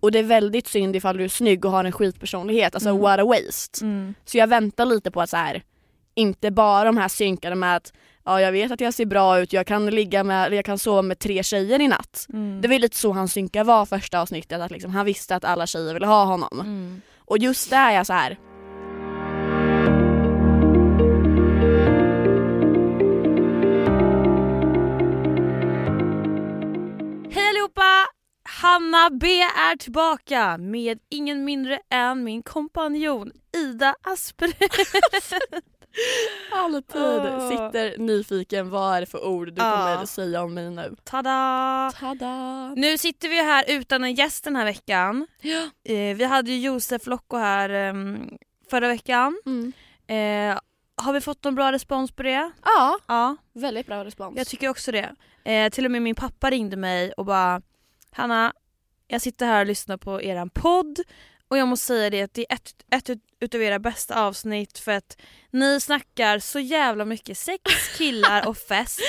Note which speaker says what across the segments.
Speaker 1: Och det är väldigt synd ifall du är snygg och har en skitpersonlighet, alltså
Speaker 2: Mm.
Speaker 1: what a waste.
Speaker 2: Mm.
Speaker 1: Så jag väntar lite på att så här, inte bara de här synkarna med att ja jag vet att jag ser bra ut, jag kan ligga med, eller jag kan sova med tre tjejer i natt.
Speaker 2: Mm.
Speaker 1: Det var ju lite så hans synka var första avsnittet, att liksom, han visste att alla tjejer ville ha honom.
Speaker 2: Mm.
Speaker 1: Och just där är jag så här.
Speaker 2: Hej allihopa! Hanna B är tillbaka med ingen mindre än min kompanjon Ida Aspre.
Speaker 1: Alltid
Speaker 2: Åh.
Speaker 1: sitter nyfiken, vad är det för ord du
Speaker 2: Ja.
Speaker 1: kommer säga om mig nu?
Speaker 2: Tada!
Speaker 1: Ah. Tada!
Speaker 2: Nu sitter vi här utan en gäst den här veckan.
Speaker 1: Ja.
Speaker 2: Eh, vi hade ju Josef Locko här ehm, förra veckan.
Speaker 1: Mm.
Speaker 2: Eh, har vi fått någon bra respons på det?
Speaker 1: Ja,
Speaker 2: Ja,
Speaker 1: väldigt bra respons.
Speaker 2: jag tycker också det. Eh, till och med min pappa ringde mig och bara Hanna, jag sitter här och lyssnar på eran podd och jag måste säga det att det är ett, ett ut- utav era bästa avsnitt för att ni snackar så jävla mycket sex, killar och fest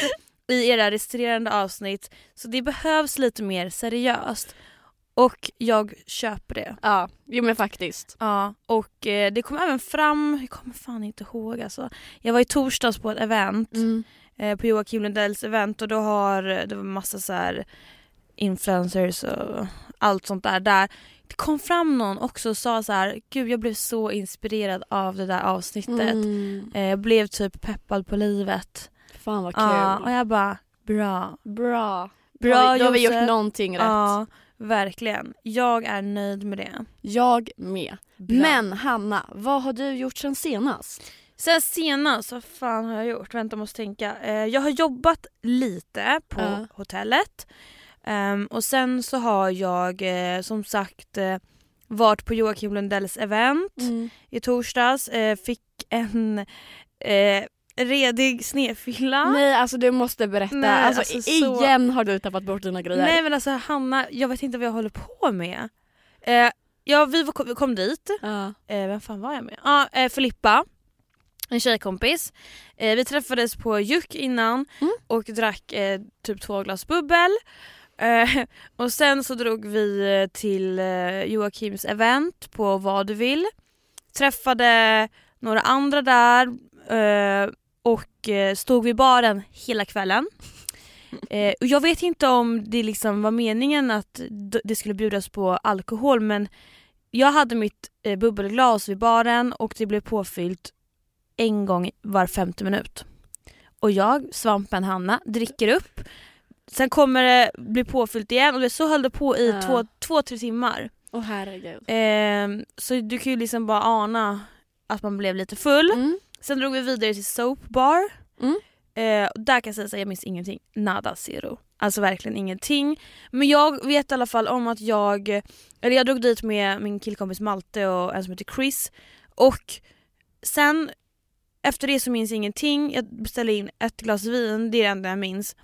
Speaker 2: i era resterande avsnitt så det behövs lite mer seriöst. Och jag köper det.
Speaker 1: Ja, jo men faktiskt.
Speaker 2: Ja, och eh, det kom även fram, jag kommer fan inte ihåg alltså. Jag var i torsdags på ett event,
Speaker 1: Mm.
Speaker 2: eh, på Joakim Lundells event och då har det var massa så här influencers och allt sånt där där. Det kom fram någon också och sa så här, gud jag blev så inspirerad av det där avsnittet.
Speaker 1: Mm.
Speaker 2: Eh, jag blev typ peppad på livet.
Speaker 1: Fan vad kul.
Speaker 2: Ja, och jag bara, bra.
Speaker 1: Bra.
Speaker 2: Bra
Speaker 1: Då har vi- Då har vi
Speaker 2: Josef.
Speaker 1: gjort någonting rätt.
Speaker 2: Ja, verkligen. Jag är nöjd med det.
Speaker 1: Jag med.
Speaker 2: Bra.
Speaker 1: Men Hanna, vad har du gjort sen senast?
Speaker 2: Sen senast, vad fan har jag gjort? Vänta, måste tänka. Eh, jag har jobbat lite på
Speaker 1: Ja.
Speaker 2: hotellet. Ehm, och sen så har jag eh, som sagt eh, varit på Joakim Lundells event
Speaker 1: Mm.
Speaker 2: i torsdags. Eh, fick en eh, redig snefylla.
Speaker 1: Nej alltså du måste berätta,
Speaker 2: Nej,
Speaker 1: alltså,
Speaker 2: alltså,
Speaker 1: i-
Speaker 2: så-
Speaker 1: igen har du tappat bort dina grejer.
Speaker 2: Nej men alltså Hanna, jag vet inte vad jag håller på med. Eh, ja, vi var- vi kom dit.
Speaker 1: Ja.
Speaker 2: eh, vem fan var jag med? Ja, eh, Filippa. En tjejkompis. Eh, vi träffades på Juk innan
Speaker 1: Mm.
Speaker 2: och drack eh, typ två glas bubbel. Eh, och sen så drog vi eh, till eh, Joakims event på Vad du vill. Träffade några andra där eh, och eh, stod vid baren hela kvällen. Eh, och jag vet inte om det liksom var meningen att d- det skulle bjudas på alkohol men jag hade mitt eh, bubbelglas vid baren och det blev påfyllt en gång var femte minut. Och jag, svampen Hanna, dricker upp. Sen kommer det bli påfyllt igen och det så höll det på i
Speaker 1: Ja.
Speaker 2: två, två, tre timmar.
Speaker 1: Åh herregud.
Speaker 2: Ehm, så du kan ju liksom bara ana att man blev lite full.
Speaker 1: Mm.
Speaker 2: Sen drog vi vidare till Soap Bar.
Speaker 1: Mm.
Speaker 2: Eh, och där kan jag säga att jag minns ingenting. Nada zero. Alltså verkligen ingenting. Men jag vet i alla fall om att jag, eller jag drog dit med min killkompis Malte och en som heter Chris. Och sen efter det så minns jag ingenting. Jag beställde in ett glas vin, det är det enda jag minns.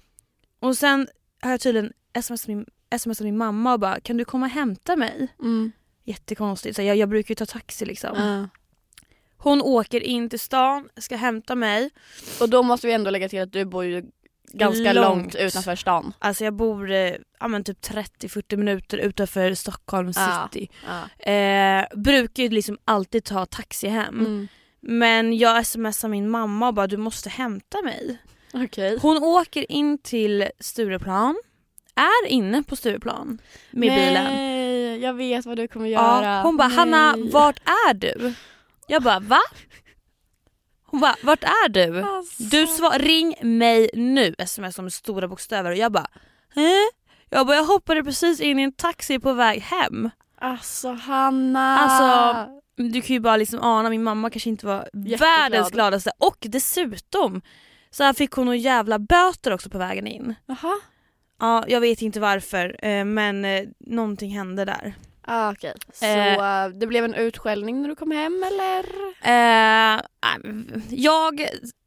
Speaker 2: Och sen har jag tydligen smsat min, smsat min mamma och bara kan du komma och hämta mig?
Speaker 1: Mm.
Speaker 2: Jättekonstigt, så jag, jag brukar ju ta taxi liksom.
Speaker 1: Ja.
Speaker 2: Hon åker in till stan, ska hämta mig.
Speaker 1: Och då måste vi ändå lägga till att du bor ju ganska långt,
Speaker 2: Långt.
Speaker 1: utanför stan.
Speaker 2: Alltså jag bor eh, ja, men typ 30-40 minuter utanför Stockholm
Speaker 1: Ja.
Speaker 2: city. Eh, brukar ju liksom alltid ta taxi hem.
Speaker 1: Mm.
Speaker 2: Men jag smsar min mamma och bara du måste hämta mig.
Speaker 1: Okej.
Speaker 2: Hon åker in till Stureplan, är inne på Stureplan med bilen.
Speaker 1: Nej, jag vet vad du kommer göra.
Speaker 2: Ja, hon bara
Speaker 1: Nej.
Speaker 2: Hanna vart är du? Jag bara va? Hon bara vart är du?
Speaker 1: Alltså.
Speaker 2: Du svar, ring mig nu, sms som stora bokstäver och jag bara Hä? Jag bara jag hoppade precis in i en taxi på väg hem.
Speaker 1: Alltså Hanna.
Speaker 2: Alltså, Du kan ju bara liksom ana, min mamma kanske inte var
Speaker 1: Jätteglad.
Speaker 2: världens gladaste och dessutom så här fick hon några jävla böter också på vägen in.
Speaker 1: Jaha.
Speaker 2: Ja, jag vet inte varför eh, men eh, någonting hände där.
Speaker 1: Ah, okej. Så
Speaker 2: Eh.
Speaker 1: eh, det blev en utskällning när du kom hem eller?
Speaker 2: Eh, jag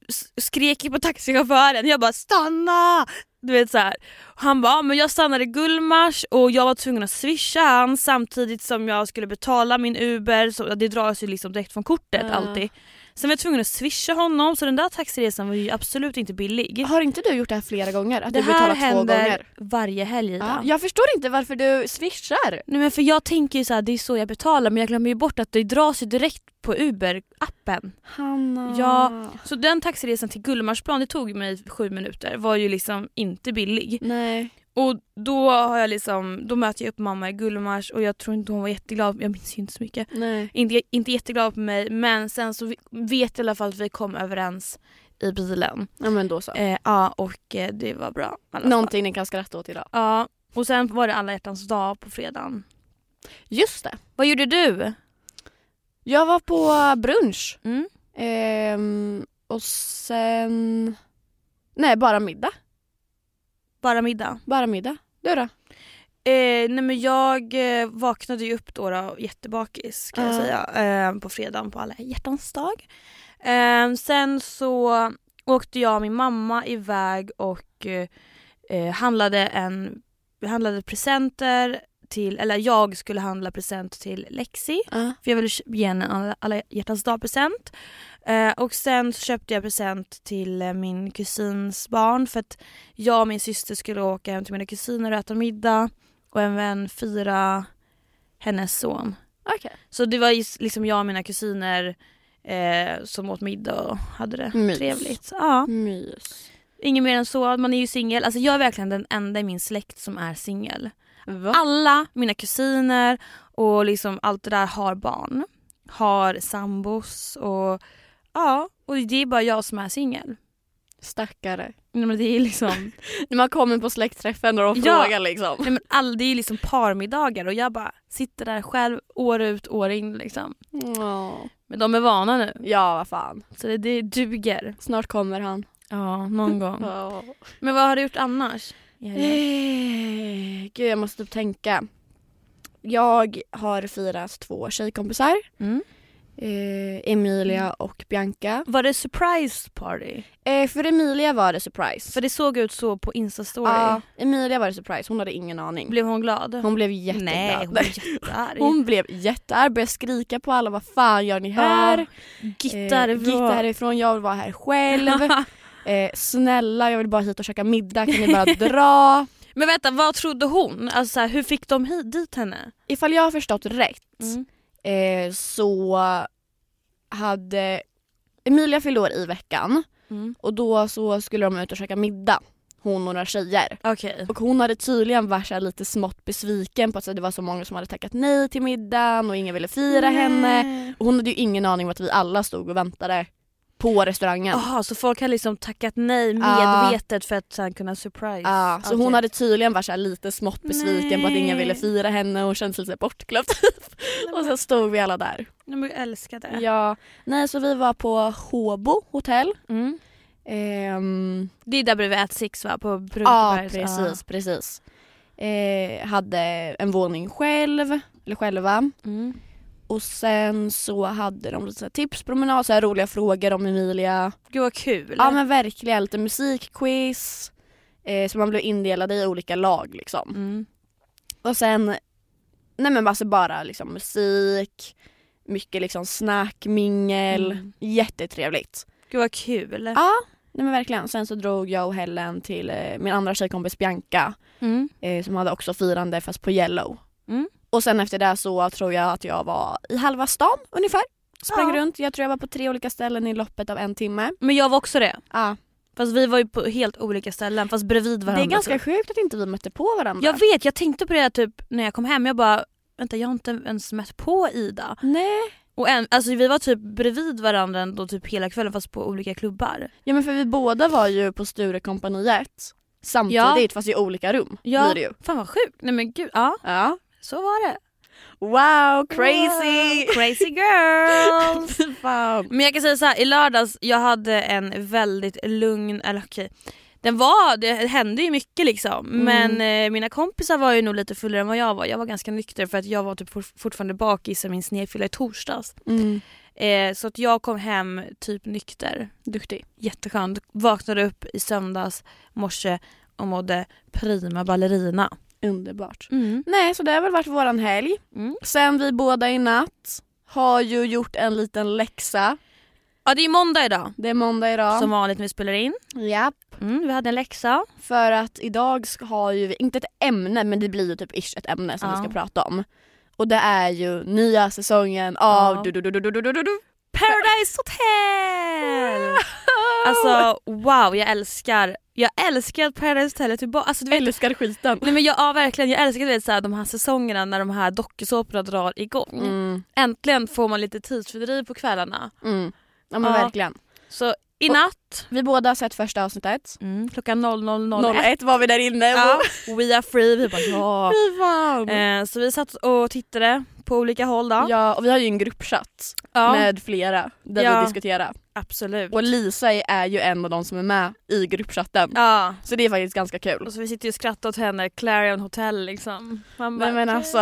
Speaker 2: s- skrek ju på taxichauffören, jag bara stanna! Du vet så här. Han bara, "Ja, men jag stannade i Gullmars och jag var tvungen att swisha han samtidigt som jag skulle betala min Uber, så det dras ju liksom direkt från kortet
Speaker 1: Ja.
Speaker 2: alltid. Sen var jag tvungen att swisha honom så den där taxiresan var ju absolut inte billig.
Speaker 1: Har inte du gjort det här flera gånger? Att
Speaker 2: Det
Speaker 1: du betalar
Speaker 2: här
Speaker 1: två gånger?
Speaker 2: händer varje helg Ida.
Speaker 1: Ja, jag förstår inte varför du swishar.
Speaker 2: Nej, men för jag tänker ju så här, det är så jag betalar men jag glömmer ju bort att det dras ju direkt på Uber-appen.
Speaker 1: Hanna.
Speaker 2: Ja. Så den taxiresan till Gullmarsplan, det tog mig sju minuter, var ju liksom inte billig.
Speaker 1: Nej.
Speaker 2: Och då har jag liksom, då möter jag upp mamma i Gullmars och jag tror inte hon var jätteglad, jag minns ju inte så mycket.
Speaker 1: Nej.
Speaker 2: Inte, inte jätteglad på mig men sen så vi- vet jag i alla fall att vi kom överens i bilen.
Speaker 1: Ja men då så.
Speaker 2: Eh, ja och eh, det var bra. i alla fall.
Speaker 1: Någonting ni kan skratta åt idag.
Speaker 2: Ja och sen var det alla hjärtans dag på fredagen.
Speaker 1: Just det.
Speaker 2: Vad gjorde du?
Speaker 1: Jag var på brunch.
Speaker 2: Mm.
Speaker 1: Ehm, och sen... Nej, bara middag.
Speaker 2: Bara middag?
Speaker 1: Bara middag. Du då?
Speaker 2: Eh, nej men jag eh, vaknade ju upp då, då jättebakis kan jag
Speaker 1: Ja.
Speaker 2: säga eh, på fredagen på alla hjärtans dag. Eh, sen så åkte jag och min mamma iväg och eh, eh, handlade, en, vi handlade presenter till, eller jag skulle handla present till Lexi
Speaker 1: Ja.
Speaker 2: för jag ville kö- ge henne en alla, alla hjärtans dag present. Eh, och sen så köpte jag present till eh, min kusins barn för att jag och min syster skulle åka hem till mina kusiner och äta middag och en vän fira hennes son.
Speaker 1: Okej.
Speaker 2: Så det var ju s- liksom jag och mina kusiner eh, som åt middag och hade det
Speaker 1: Mys.
Speaker 2: trevligt. Ja.
Speaker 1: Mys.
Speaker 2: Inget mer än så, man är ju singel. Alltså jag är verkligen den enda i min släkt som är singel.
Speaker 1: Va?
Speaker 2: Alla mina kusiner och liksom allt det där har barn. Har sambos och ja, och det är bara jag som är singel.
Speaker 1: Stackare.
Speaker 2: Nej, men Det är liksom,
Speaker 1: När man kommer på släktträffen och de
Speaker 2: Ja.
Speaker 1: frågar liksom.
Speaker 2: nej, men all, det är liksom parmiddagar och jag bara sitter där själv år ut år in liksom.
Speaker 1: Åh.
Speaker 2: Men de är vana nu
Speaker 1: Ja, vad fan.
Speaker 2: så det, det duger.
Speaker 1: Snart kommer han.
Speaker 2: Ja, någon gång.
Speaker 1: Ja.
Speaker 2: Men vad har du gjort annars?
Speaker 1: Eh, Gud, jag måste typ tänka. Jag har firat två tjejkompisar.
Speaker 2: Mm.
Speaker 1: Eh, Emilia och Bianca.
Speaker 2: Var det surprise party?
Speaker 1: Eh, för Emilia var det surprise.
Speaker 2: För det såg ut så på instastory.
Speaker 1: Ja, Emilia var det surprise. Hon hade ingen aning.
Speaker 2: Blev hon glad?
Speaker 1: Hon blev jätteglad.
Speaker 2: Nej, hon var jättearg.
Speaker 1: Hon blev jättearg, började skrika på alla. Vad fan gör
Speaker 2: Ah,
Speaker 1: ni här?
Speaker 2: Ja, gitt
Speaker 1: Eh, gitt härifrån, jag vill vara här själv. eh, snälla, jag vill bara hit och käka middag. Kan ni bara dra?
Speaker 2: Men vänta, vad trodde hon? Alltså, så här, hur fick de hit, dit henne?
Speaker 1: Ifall jag har förstått rätt eh, så hade Emilia fyllde år i veckan
Speaker 2: Mm.
Speaker 1: och då så skulle de ut och käka middag, hon och några tjejer.
Speaker 2: Okej.
Speaker 1: Och hon hade tydligen varit så här lite smått besviken på att så här, det var så många som hade tackat nej till middagen och ingen ville fira henne. Och hon hade ju ingen aning om att vi alla stod och väntade på restaurangen.
Speaker 2: Jaha, så folk har liksom tackat nej
Speaker 1: Ja.
Speaker 2: medvetet för att sen kunna surprise?
Speaker 1: Ja, så
Speaker 2: Okej.
Speaker 1: hon hade tydligen varit så här lite smått besviken på att ingen
Speaker 2: Nej.
Speaker 1: ville fira henne och kände sig lite bortglömd. typ.
Speaker 2: Nej,
Speaker 1: och
Speaker 2: men- Äh.
Speaker 1: sen stod vi alla där.
Speaker 2: Nej, men jag älskar det.
Speaker 1: Ja, nej så vi var på Håbo hotell.
Speaker 2: Mm.
Speaker 1: Ehm,
Speaker 2: Det är där bredvid At Six va? På
Speaker 1: ja
Speaker 2: Brunkebergs-
Speaker 1: precis, precis. Eh, hade en våning själv, eller själva.
Speaker 2: Ja. Mm.
Speaker 1: Och sen så hade de lite så här tipspromenad, så här roliga frågor om Emilia.
Speaker 2: Gud vad kul.
Speaker 1: Ja men verkligen, lite musikquiz. Eh, så man blev indelad i olika lag liksom.
Speaker 2: mm.
Speaker 1: Och sen, nej men alltså bara liksom musik, mycket liksom snack, mingel.
Speaker 2: Mm.
Speaker 1: Jättetrevligt.
Speaker 2: Gud vad kul.
Speaker 1: Nej men verkligen. Sen så drog jag och Helen till eh, min andra tjejkompis Bianca
Speaker 2: Mm.
Speaker 1: eh, som hade också firande fast på Yellow.
Speaker 2: Mm.
Speaker 1: Och sen efter det så tror jag att jag var i halva stan ungefär. Sprang
Speaker 2: Ja.
Speaker 1: runt. Jag tror jag var på tre olika ställen i loppet av en timme.
Speaker 2: Men jag var också det.
Speaker 1: Ja.
Speaker 2: Fast vi var ju på helt olika ställen fast bredvid
Speaker 1: Det
Speaker 2: varandra.
Speaker 1: är ganska sjukt att inte vi mötte på varandra.
Speaker 2: Jag vet, jag tänkte på det här typ när jag kom hem. Jag bara, vänta jag har inte ens mött på Ida.
Speaker 1: Nej.
Speaker 2: Och en, alltså vi var typ bredvid varandra ändå typ hela kvällen fast på olika klubbar.
Speaker 1: Ja men för vi båda var ju på Sturecompagniet samtidigt fast i olika rum.
Speaker 2: Ja.
Speaker 1: Blir det ju.
Speaker 2: Fan vad sjukt, nej men gud, ja
Speaker 1: Ja.
Speaker 2: så var det.
Speaker 1: Wow,
Speaker 2: Wow, crazy girls!
Speaker 1: Fy fan.
Speaker 2: men jag kan säga så här, i lördags jag hade en väldigt lugn, eller okej, den var, det hände ju mycket liksom men eh, mina kompisar var ju nog lite fullare än vad jag var. Jag var ganska nykter för att jag var typ for, fortfarande bakis i min snedfylla i torsdags.
Speaker 1: Mm.
Speaker 2: Eh, så att jag kom hem typ nykter.
Speaker 1: Duktig.
Speaker 2: Jätteskönt. Vaknade upp i söndags morse och mådde prima ballerina.
Speaker 1: Underbart. Nej, så det har väl varit våran helg. Sen vi båda i natt har ju gjort en liten läxa.
Speaker 2: Ja det är ju måndag idag.
Speaker 1: Det är måndag idag.
Speaker 2: Som vanligt när vi spelar in.
Speaker 1: Ja.
Speaker 2: Mm, vi hade en läxa.
Speaker 1: För att idag ska- har ju vi, inte ett ämne men det blir ju typ ish ett ämne som
Speaker 2: Ja.
Speaker 1: vi ska prata om. Och det är ju nya säsongen av
Speaker 2: Ja.
Speaker 1: du, du, du, du, du, du, du, du, du.
Speaker 2: Paradise Hotel! Alltså wow, jag älskar, jag älskar att Paradise Hotel är tillbaka. Alltså, du vet,
Speaker 1: Älskar skiten.
Speaker 2: nej men jag, ja, verkligen, jag älskar du vet, så här, de här säsongerna när de här dokusåporna drar igång.
Speaker 1: Mm,
Speaker 2: Äntligen får man lite tidsfördriv på kvällarna.
Speaker 1: mm. Ja men
Speaker 2: Ja.
Speaker 1: verkligen.
Speaker 2: Så i natt,
Speaker 1: Vi båda har sett första avsnittet.
Speaker 2: mm, klockan 00.01
Speaker 1: 01 var vi där inne.
Speaker 2: Ja, we are free, vi bara ja.
Speaker 1: Fy fan.
Speaker 2: Eh, så vi satt och tittade på olika håll då.
Speaker 1: Ja och vi har ju en gruppchatt med flera där
Speaker 2: Ja.
Speaker 1: vi diskuterar.
Speaker 2: absolut.
Speaker 1: Och Lisa är ju en av de som är med i gruppchatten.
Speaker 2: Ja.
Speaker 1: Så det är faktiskt ganska kul.
Speaker 2: Och så vi sitter ju och skrattar åt henne, Clarion Hotel liksom. Man bara,
Speaker 1: Nej men alltså,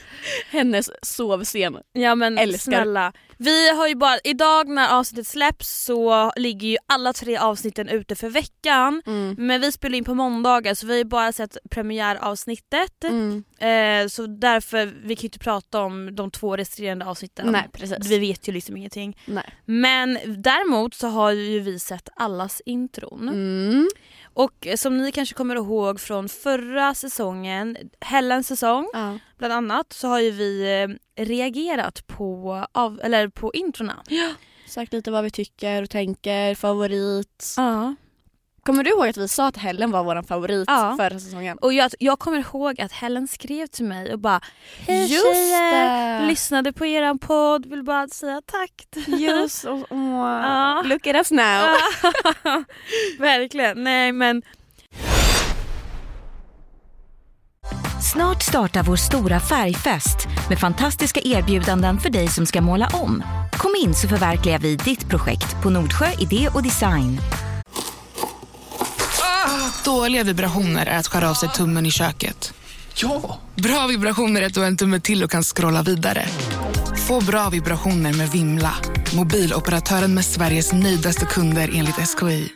Speaker 1: hennes sovscen.
Speaker 2: Ja men
Speaker 1: Älskar.
Speaker 2: snälla. Vi har ju bara, idag när avsnittet släpps så ligger ju alla tre avsnitten ute för veckan.
Speaker 1: Mm.
Speaker 2: Men vi spelar in på måndagar så vi har ju bara sett premiäravsnittet.
Speaker 1: Mm.
Speaker 2: Eh, så därför, vi kan ju inte prata om de två resterande avsnitten.
Speaker 1: Nej precis.
Speaker 2: Vi vet ju liksom ingenting.
Speaker 1: Nej.
Speaker 2: Men däremot så har ju vi sett allas intron.
Speaker 1: Mm.
Speaker 2: Och eh, som ni kanske kommer ihåg från förra säsongen, Hellens säsong,
Speaker 1: Ja.
Speaker 2: bland annat så har ju vi eh, reagerat på, av, eller på introna.
Speaker 1: Sagt lite vad vi tycker och tänker, favorit.
Speaker 2: Ja.
Speaker 1: Kommer du ihåg att vi sa att Helen var vår favorit
Speaker 2: Ja.
Speaker 1: förra säsongen?
Speaker 2: Och jag, jag kommer ihåg att Helen skrev till mig och bara Hej
Speaker 1: Just
Speaker 2: tjejer!
Speaker 1: det!
Speaker 2: Lyssnade på eran podd, vill bara säga tack.
Speaker 1: Just, oh, oh.
Speaker 2: Ja.
Speaker 1: Look at us now.
Speaker 2: Verkligen, nej men
Speaker 3: Snart startar vår stora färgfest med fantastiska erbjudanden för dig som ska måla om. Kom in så förverkligar vi ditt projekt på Nordsjö Idé och Design.
Speaker 4: Dåliga vibrationer är att skära av sig tummen i köket.
Speaker 5: Ja!
Speaker 4: Bra vibrationer är att du har en tumme till och kan scrolla vidare. Få bra vibrationer med Vimla. Mobiloperatören med Sveriges nöjdaste kunder enligt SKI.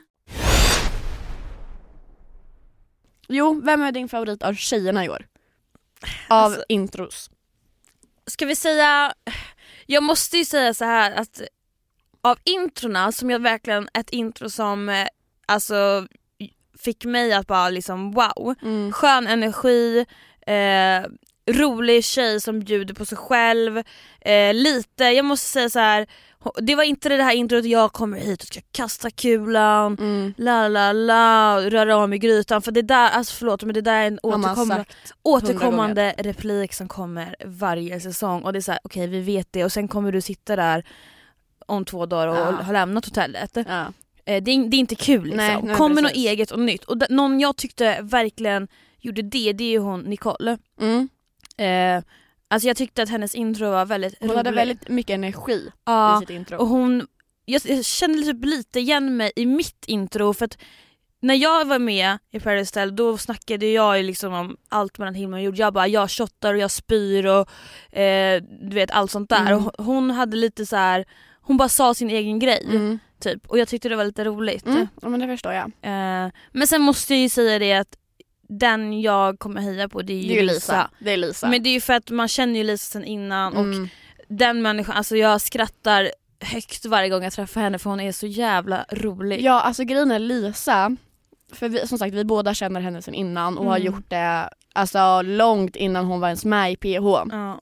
Speaker 1: Jo, vem är din favorit av tjejerna i år? Av
Speaker 2: Alltså-
Speaker 1: intros.
Speaker 2: ska vi säga, jag måste ju säga så här att av introna som jag verkligen, ett intro som eh, alltså fick mig att bara liksom wow.
Speaker 1: Mm.
Speaker 2: Skön energi, eh, rolig tjej som bjuder på sig själv. Eh, lite, jag måste säga så här. ho- det var inte det här introt jag kommer hit och ska kasta kulan,
Speaker 1: Mm.
Speaker 2: la la la, röra om i grytan. För det där, alltså förlåt men det där är en
Speaker 1: Har man
Speaker 2: återkommande
Speaker 1: sagt.
Speaker 2: återkommande replik som kommer varje säsong och det är såhär, okej vi vet det och sen kommer du sitta där om två dagar och
Speaker 1: Ja.
Speaker 2: har lämnat hotellet. Eh,
Speaker 1: Ja.
Speaker 2: Det är, det är inte kul liksom.
Speaker 1: Nej, nej,
Speaker 2: kommer något
Speaker 1: precis.
Speaker 2: eget och nytt. Och d- någon jag tyckte verkligen gjorde det, det är ju hon Nicole.
Speaker 1: Mm.
Speaker 2: Eh, alltså jag tyckte att hennes intro var väldigt
Speaker 1: Hon hade väldigt mycket energi i
Speaker 2: ja,
Speaker 1: sitt intro.
Speaker 2: och hon, jag, jag kände typ lite igen mig i mitt intro för att när jag var med i Paradise Hotel då snackade jag ju liksom om allt mellan himmel och jord. Jag bara jag shottar och jag spyr och eh, du vet allt sånt där.
Speaker 1: Mm.
Speaker 2: Och hon- hon hade lite så här. hon bara sa sin egen grej
Speaker 1: Mm.
Speaker 2: typ och jag tyckte det var lite roligt.
Speaker 1: Mm. Ja men det förstår jag.
Speaker 2: Eh, men sen måste jag ju säga det att den jag kommer heja på det är ju, Lisa.
Speaker 1: Det är Lisa.
Speaker 2: Men det är ju för att man känner ju Lisa sen innan och
Speaker 1: Mm.
Speaker 2: den människan, alltså jag skrattar högt varje gång jag träffar henne för hon är så jävla rolig.
Speaker 1: Ja alltså grejen är Lisa, för vi, som sagt vi båda känner henne sedan innan och har
Speaker 2: Mm.
Speaker 1: gjort det alltså, långt innan hon var ens med i PH.
Speaker 2: Ja.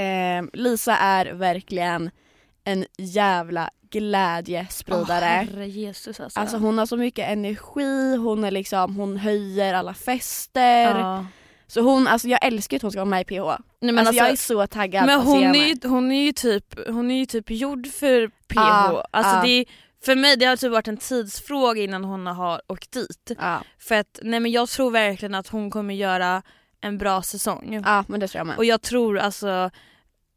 Speaker 1: Eh, Lisa är verkligen en jävla
Speaker 2: Åh,
Speaker 1: glädjespridare.
Speaker 2: herre Jesus alltså.
Speaker 1: Alltså hon har så mycket energi, hon, är liksom, hon höjer alla fester.
Speaker 2: Ja.
Speaker 1: Så hon, alltså jag älskar att hon ska vara med i PH. Alltså,
Speaker 2: Nej, men alltså,
Speaker 1: jag är så taggad
Speaker 2: men
Speaker 1: på att se
Speaker 2: hon,
Speaker 1: henne.
Speaker 2: är ju, hon, är ju typ, hon är ju typ gjord för PH.
Speaker 1: Ja,
Speaker 2: alltså
Speaker 1: ja.
Speaker 2: Det är, för mig det har typ varit en tidsfråga innan hon har åkt dit.
Speaker 1: Ja,
Speaker 2: För att nej, men jag tror verkligen att hon kommer göra en bra säsong.
Speaker 1: ja men det tror jag med.
Speaker 2: Och jag tror alltså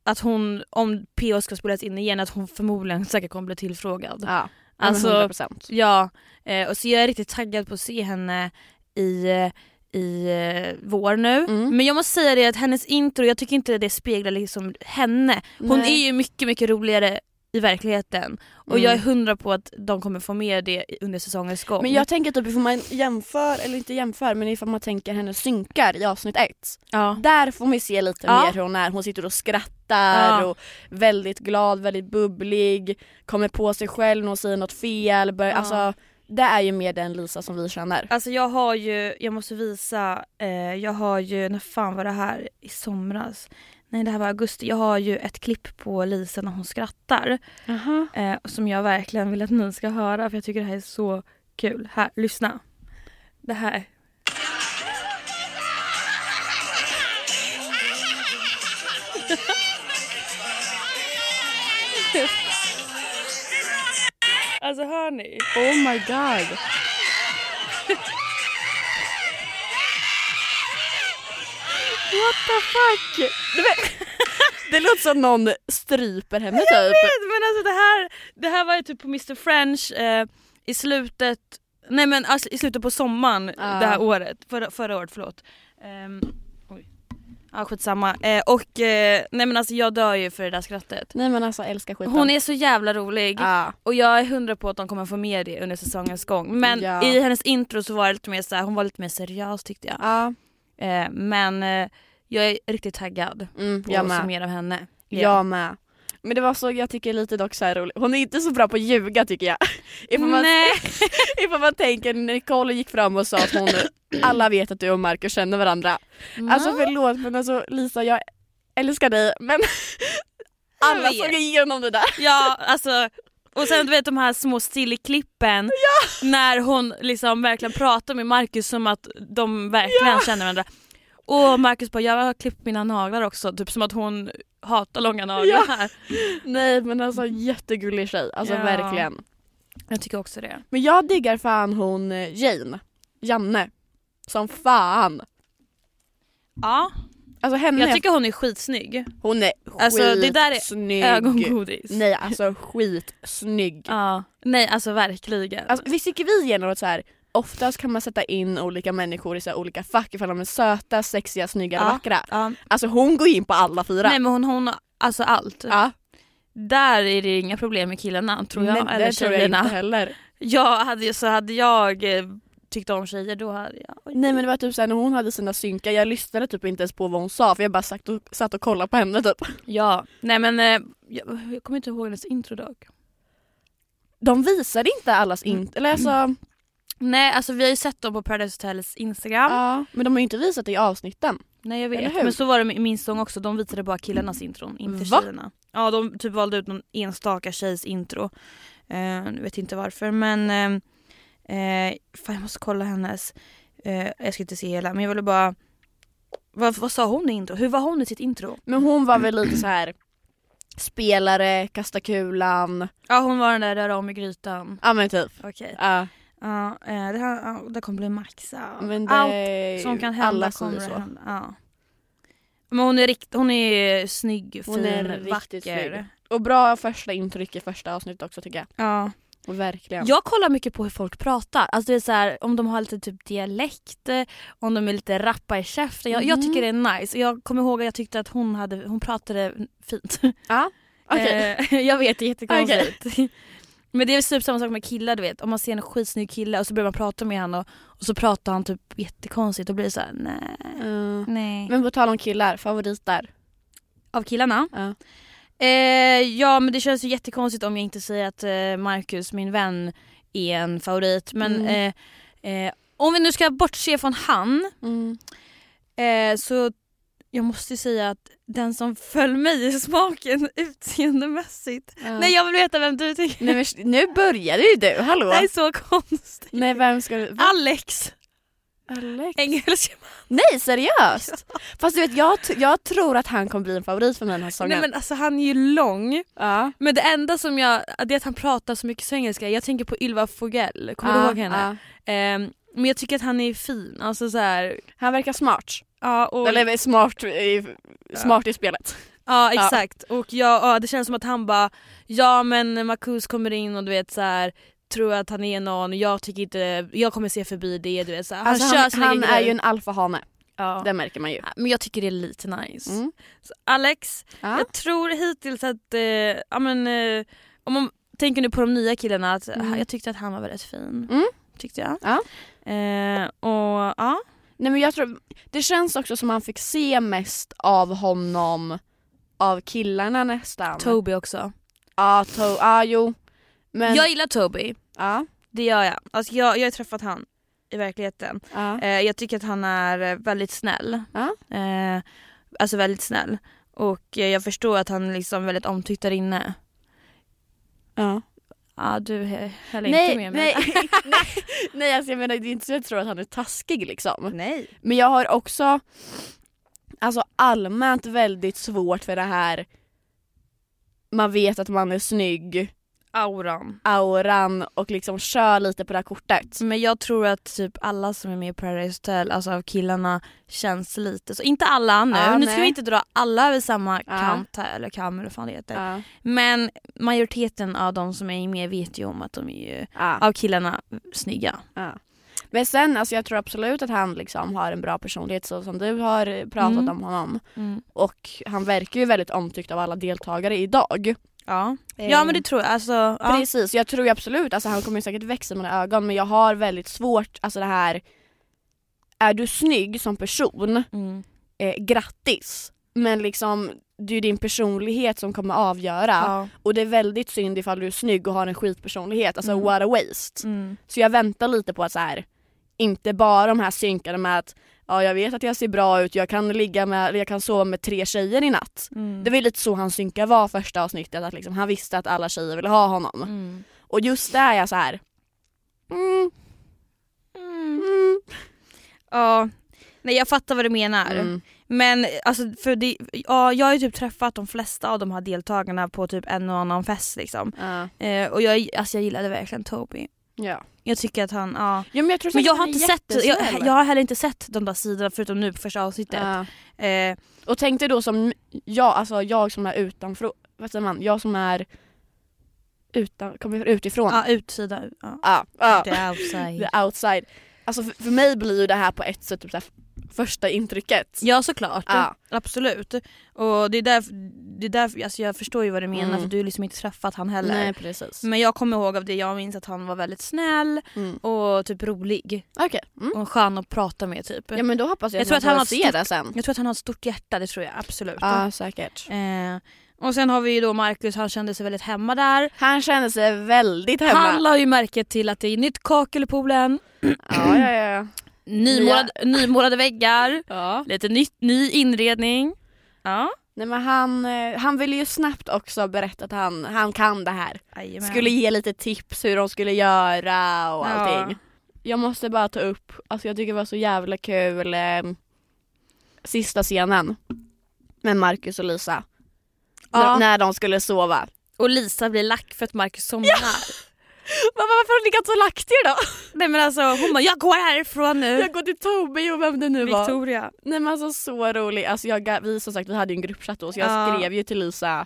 Speaker 2: att hon, om PH ska spelas in igen, att hon förmodligen säkert kommer bli tillfrågad.
Speaker 1: Ja, alltså,
Speaker 2: Alltså,
Speaker 1: 100%.
Speaker 2: Ja, eh, och så jag är riktigt taggad på att se henne i, eh, i eh, vår nu.
Speaker 1: Mm.
Speaker 2: Men jag måste säga det att hennes intro, jag tycker inte det speglar liksom henne. Hon
Speaker 1: Nej.
Speaker 2: är ju mycket, mycket roligare i verkligheten. Och
Speaker 1: Mm.
Speaker 2: jag är hundra på att de kommer få med det i- under säsongens gång.
Speaker 1: Men jag tänker typ ifall man jämför, eller inte jämför, men ifall man tänker hennes synkar i avsnitt ett.
Speaker 2: ja.
Speaker 1: Där får man ju se lite
Speaker 2: Ja.
Speaker 1: mer hur hon är, hon sitter och skrattar
Speaker 2: Ja.
Speaker 1: och väldigt glad, väldigt bubblig, kommer på sig själv när hon säger något fel. Bör,
Speaker 2: Ja.
Speaker 1: Alltså det är ju mer den Lisa som vi känner.
Speaker 2: Alltså jag har ju, jag måste visa, eh, jag har ju, när fan var det här? I somras? Nej det här var augusti. Jag har ju ett klipp på Lisa när hon skrattar. Eh, som jag verkligen vill att ni ska höra för jag tycker det här är så kul. Här, lyssna. Det här. alltså hör ni?
Speaker 1: Oh my god. What the fuck? Du vet- Det låter som någon stryper henne
Speaker 2: Jag
Speaker 1: typ.
Speaker 2: vet men alltså det här, det här var ju typ på Mr French eh, i slutet, nej men alltså, i slutet på sommaren
Speaker 1: Ja.
Speaker 2: det här året, förra, förra året förlåt. Ehm, oj. Ja skitsamma. Eh, och eh, nej men alltså jag dör ju för det där skrattet.
Speaker 1: Nej men alltså älskar skiten.
Speaker 2: Hon är så jävla rolig
Speaker 1: Ja.
Speaker 2: och jag är hundra på att de kommer få med det under säsongens gång. Men
Speaker 1: Ja.
Speaker 2: i hennes intro så var det lite mer så här, hon var lite mer seriös tyckte jag.
Speaker 1: Ja.
Speaker 2: Eh, men eh, jag är riktigt taggad
Speaker 1: Mm,
Speaker 2: på
Speaker 1: jag
Speaker 2: att se
Speaker 1: med.
Speaker 2: mer av henne.
Speaker 1: Jag med. Men det var så, jag tycker lite dock så här roligt. Hon är inte så bra på att ljuga tycker jag. Ifall man,
Speaker 2: Nej.
Speaker 1: ifall man tänker, Nicole gick fram och sa att hon, alla vet att du och Marcus känner varandra. Alltså förlåt men alltså Lisa jag älskar dig men alla
Speaker 2: vet.
Speaker 1: såg igenom det där.
Speaker 2: Ja, alltså. Och sen du vet de här små stillklippen när hon liksom verkligen pratar med Marcus som att de verkligen känner varandra. Och Marcus bara, jag har klippt mina naglar också, typ som att hon hatar långa naglar.
Speaker 1: Nej men alltså jättegullig tjej, alltså
Speaker 2: Ja.
Speaker 1: verkligen.
Speaker 2: Jag tycker också det.
Speaker 1: Men jag diggar fan hon eh, Jane, Janne. Som fan.
Speaker 2: Ja,
Speaker 1: Alltså henne,
Speaker 2: jag tycker hon är skitsnygg.
Speaker 1: hon är
Speaker 2: Alltså, det där är
Speaker 1: skitsnygg.
Speaker 2: Ögongodis.
Speaker 1: Nej alltså skitsnygg.
Speaker 2: Ja. Nej, alltså verkligen.
Speaker 1: Alltså, visst tycker vi igenom att så här, oftast kan man sätta in olika människor i så här, olika fack ifall de är söta, sexiga, snygga eller
Speaker 2: Ja.
Speaker 1: vackra.
Speaker 2: ja.
Speaker 1: Alltså hon går in på alla fyra.
Speaker 2: Nej men hon, hon alltså allt.
Speaker 1: ja.
Speaker 2: Där är det inga problem med killarna tror jag,
Speaker 1: Nej,
Speaker 2: eller
Speaker 1: det tror jag inte
Speaker 2: tjejerna.
Speaker 1: heller.
Speaker 2: Jag hade, ju- så hade jag eh, tyckt om tjejer då hade jag... Oj.
Speaker 1: Nej men det var typ såhär när hon hade sina synkar, jag lyssnade typ inte ens på vad hon sa för jag bara satt och, satt och kollade på henne typ.
Speaker 2: Ja, nej men eh, jag, jag kommer inte ihåg hennes intro dock.
Speaker 1: De visade inte allas
Speaker 2: Mm.
Speaker 1: in... eller alltså,
Speaker 2: Nej alltså vi har ju sett dem på Paradise Hotels instagram.
Speaker 1: ja, men de har ju inte visat det i avsnitten.
Speaker 2: Nej jag
Speaker 1: Eller
Speaker 2: vet,
Speaker 1: hur?
Speaker 2: men så var det med min sång också, de visade bara killarnas intron, inte
Speaker 1: Va?
Speaker 2: tjejerna. Ja de typ valde ut någon enstaka tjejs intro. Eh, jag vet inte varför men, eh, eh, fan jag måste kolla hennes. Eh, jag ska inte se hela men jag ville bara, vad, vad sa hon i intro? Hur var hon i sitt intro?
Speaker 1: Men hon var väl lite så här spelare, kasta kulan,
Speaker 2: Ja hon var den där röra om i grytan.
Speaker 1: ja men typ.
Speaker 2: Okej.
Speaker 1: Ja,
Speaker 2: Ja, eh, det, här, ja, det kommer bli maxa.
Speaker 1: men det,
Speaker 2: Allt
Speaker 1: är ju-
Speaker 2: som kan hända
Speaker 1: alla säger
Speaker 2: kommer att
Speaker 1: så.
Speaker 2: hända. Ja. Men hon är, rikt, hon är snygg, fin,
Speaker 1: Hon är riktigt
Speaker 2: vacker.
Speaker 1: snygg. Och bra första intryck i första avsnittet också tycker jag.
Speaker 2: Ja.
Speaker 1: Och verkligen.
Speaker 2: Jag kollar mycket på hur folk pratar. Alltså det är så här, om de har lite typ dialekt, eh, om de är lite rappa i käften. Jag, jag tycker det är nice. Jag kommer ihåg att jag tyckte att hon, hade, hon pratade fint.
Speaker 1: Ja, okej.
Speaker 2: Eh, jag vet, det är jättekonstigt. Men det är typ samma sak med killar du vet. Om man ser en skitsnygg kille och så börjar man prata med honom och, och så pratar han typ jättekonstigt och blir det så här: nej.
Speaker 1: Eh,
Speaker 2: nej.
Speaker 1: Men på tal om killar, favorit där?
Speaker 2: Av killarna?
Speaker 1: Ja.
Speaker 2: Eh, ja men det känns ju jättekonstigt om jag inte säger att eh, Marcus, min vän, är en favorit. Men
Speaker 1: Mm.
Speaker 2: eh, eh, om vi nu ska bortse från han
Speaker 1: Mm.
Speaker 2: eh, så jag måste säga att den som föll mig i smaken utseendemässigt.
Speaker 1: Ja.
Speaker 2: Nej jag vill veta vem du tycker.
Speaker 1: eh. Nej, men, nu började ju du, hallå!
Speaker 2: Det här är så konstigt.
Speaker 1: Nej vem ska du... Va?
Speaker 2: Alex
Speaker 1: Alex?
Speaker 2: Engelsk.
Speaker 1: Nej seriöst! Fast du vet jag, t- jag tror att han kommer bli en favorit för mig den här säsongen.
Speaker 2: Nej men alltså han är ju lång.
Speaker 1: ja.
Speaker 2: Men det enda som jag, det är att han pratar så mycket svengelska. Jag tänker på Ylva Fogell, kommer du
Speaker 1: Ja,
Speaker 2: ihåg henne?
Speaker 1: ja.
Speaker 2: Ehm, men jag tycker att han är fin. Alltså så här,
Speaker 1: Han verkar smart.
Speaker 2: ja, och,
Speaker 1: Eller smart i, smart i spelet.
Speaker 2: ja exakt. Och jag, ja, det känns som att han bara, ja men Marcus kommer in och du vet så här tror att han är någon, jag tycker inte, jag kommer se förbi det du vet så här.
Speaker 1: Alltså,
Speaker 2: han, kör
Speaker 1: han
Speaker 2: sina
Speaker 1: han
Speaker 2: grejer.
Speaker 1: är ju en alfahane.
Speaker 2: Ja.
Speaker 1: Det märker man ju.
Speaker 2: Men jag tycker det är lite nice.
Speaker 1: Mm.
Speaker 2: Så Alex,
Speaker 1: Ja.
Speaker 2: jag tror hittills att, eh, ja men eh, om man tänker nu på de nya killarna, att
Speaker 1: Mm.
Speaker 2: jag tyckte att han var väldigt fin.
Speaker 1: Mm.
Speaker 2: Tyckte jag.
Speaker 1: Ja.
Speaker 2: Eh, och ja.
Speaker 1: Nej men jag tror, det känns också som man fick se mest av honom av killarna nästan.
Speaker 2: Toby också.
Speaker 1: Ja, to- ja jo. Men,
Speaker 2: Jag gillar Toby,
Speaker 1: ja,
Speaker 2: det gör jag. Alltså jag, jag har träffat han i verkligheten.
Speaker 1: ja.
Speaker 2: Eh, jag tycker att han är eh, väldigt snäll.
Speaker 1: Ja.
Speaker 2: Eh, alltså väldigt snäll. Och eh, jag förstår att han liksom är väldigt omtyckt där inne.
Speaker 1: ja.
Speaker 2: Ja, du he- höll
Speaker 1: nej,
Speaker 2: inte med mig.
Speaker 1: nej, nej, nej alltså jag menar det är inte så jag tror att han är taskig liksom.
Speaker 2: nej.
Speaker 1: Men jag har också alltså allmänt väldigt svårt för det här man vet att man är snygg,
Speaker 2: Auran.
Speaker 1: auran och liksom kör lite på det här kortet.
Speaker 2: Men jag tror att typ alla som är med i Paradise Hotel, alltså av killarna, känns lite så. Inte alla nu,
Speaker 1: Ja,
Speaker 2: nu ska
Speaker 1: nej.
Speaker 2: vi inte dra alla över samma
Speaker 1: Ja.
Speaker 2: kant här, eller kam eller vad fan det heter.
Speaker 1: Ja.
Speaker 2: Men majoriteten av de som är med vet ju om att de är ju,
Speaker 1: Ja.
Speaker 2: av killarna, snygga.
Speaker 1: Ja. Men sen, alltså jag tror absolut att han liksom har en bra personlighet så som du har eh, pratat
Speaker 2: Mm.
Speaker 1: om honom. Och han verkar ju väldigt omtyckt av alla deltagare idag.
Speaker 2: Ja.
Speaker 1: Eh,
Speaker 2: ja men det tror jag. Alltså, ja.
Speaker 1: Precis, jag tror ju absolut, alltså han kommer ju säkert växa i mina ögon men jag har väldigt svårt, alltså det här Är du snygg som person,
Speaker 2: Mm.
Speaker 1: eh, grattis! Men liksom, det är ju din personlighet som kommer avgöra.
Speaker 2: Ja.
Speaker 1: Och det är väldigt synd ifall du är snygg och har en skitpersonlighet, alltså
Speaker 2: Mm.
Speaker 1: what a waste.
Speaker 2: Mm.
Speaker 1: Så jag väntar lite på att så här, inte bara de här synkade med att ja jag vet att jag ser bra ut, jag kan, ligga med, eller jag kan sova med tre tjejer i natt.
Speaker 2: Mm.
Speaker 1: Det var ju lite så han synka var första avsnittet, att liksom, han visste att alla tjejer ville ha honom.
Speaker 2: Mm.
Speaker 1: Och just där är jag så här. Mm,
Speaker 2: Mm.
Speaker 1: mm,
Speaker 2: Ja. Nej jag fattar vad du menar.
Speaker 1: mm.
Speaker 2: Men alltså, för det, ja, jag har ju typ träffat de flesta av de här deltagarna på typ en och annan fest liksom.
Speaker 1: Ja.
Speaker 2: Eh, och jag, alltså, jag gillade verkligen Toby.
Speaker 1: Ja.
Speaker 2: Jag tycker att han, ja.
Speaker 1: ja men jag tror
Speaker 2: Men
Speaker 1: säkert
Speaker 2: jag har
Speaker 1: han är
Speaker 2: inte sett, jag,
Speaker 1: jättesnäll.
Speaker 2: jag har heller inte sett de där sidorna förutom nu på första avsnittet.
Speaker 1: Ja.
Speaker 2: Eh,
Speaker 1: Och tänk dig då som jag, alltså jag som är utanför, vad säger man, jag som är utan, kommer utifrån.
Speaker 2: ja, utsida. Ja.
Speaker 1: Ja, ja.
Speaker 2: The outside.
Speaker 1: the outside. Alltså för, för mig blir ju det här på ett sätt typ så här, första intrycket.
Speaker 2: Ja såklart,
Speaker 1: Ja.
Speaker 2: absolut. Och det är därför, det är därför alltså, jag förstår ju vad du menar
Speaker 1: Mm.
Speaker 2: för du har liksom inte träffat han heller.
Speaker 1: Nej precis.
Speaker 2: Men jag kommer ihåg av det jag minns att han var väldigt snäll
Speaker 1: Mm.
Speaker 2: och typ rolig
Speaker 1: Okej. Mm.
Speaker 2: och skön att prata med typ.
Speaker 1: Ja men då hoppas jag,
Speaker 2: Jag tror att han
Speaker 1: får
Speaker 2: har
Speaker 1: se
Speaker 2: stort-
Speaker 1: det sen.
Speaker 2: Jag tror att han har ett stort hjärta, det tror jag absolut.
Speaker 1: Ja säkert.
Speaker 2: Eh, och sen har vi ju då Marcus, han kände sig väldigt hemma där.
Speaker 1: Han känner sig väldigt hemma.
Speaker 2: Han la ju märke till att det är nytt kakel i poolen,
Speaker 1: Ja ja ja.
Speaker 2: nymålad, nymålade väggar,
Speaker 1: ja.
Speaker 2: lite ny, ny inredning. Ja.
Speaker 1: Nej men han, eh, han ville ju snabbt också berätta att han, han kan det här.
Speaker 2: Jajamän.
Speaker 1: Skulle ge lite tips hur de skulle göra och
Speaker 2: Ja.
Speaker 1: allting. Jag måste bara ta upp, alltså jag tycker det var så jävla kul eh, sista scenen med Marcus och Lisa.
Speaker 2: Ja.
Speaker 1: N- när de skulle sova.
Speaker 2: Och Lisa blir lack för att Marcus somnar.
Speaker 1: varför har ni legat så laktig då?
Speaker 2: Nej men alltså hon bara “jag går härifrån nu”.
Speaker 1: Jag går till Tobbe och vem det nu var.
Speaker 2: Victoria.
Speaker 1: Nej men alltså så rolig. Alltså jag, ga- vi som sagt vi hade ju en gruppchatt då så jag
Speaker 2: Ja.
Speaker 1: skrev ju till Lisa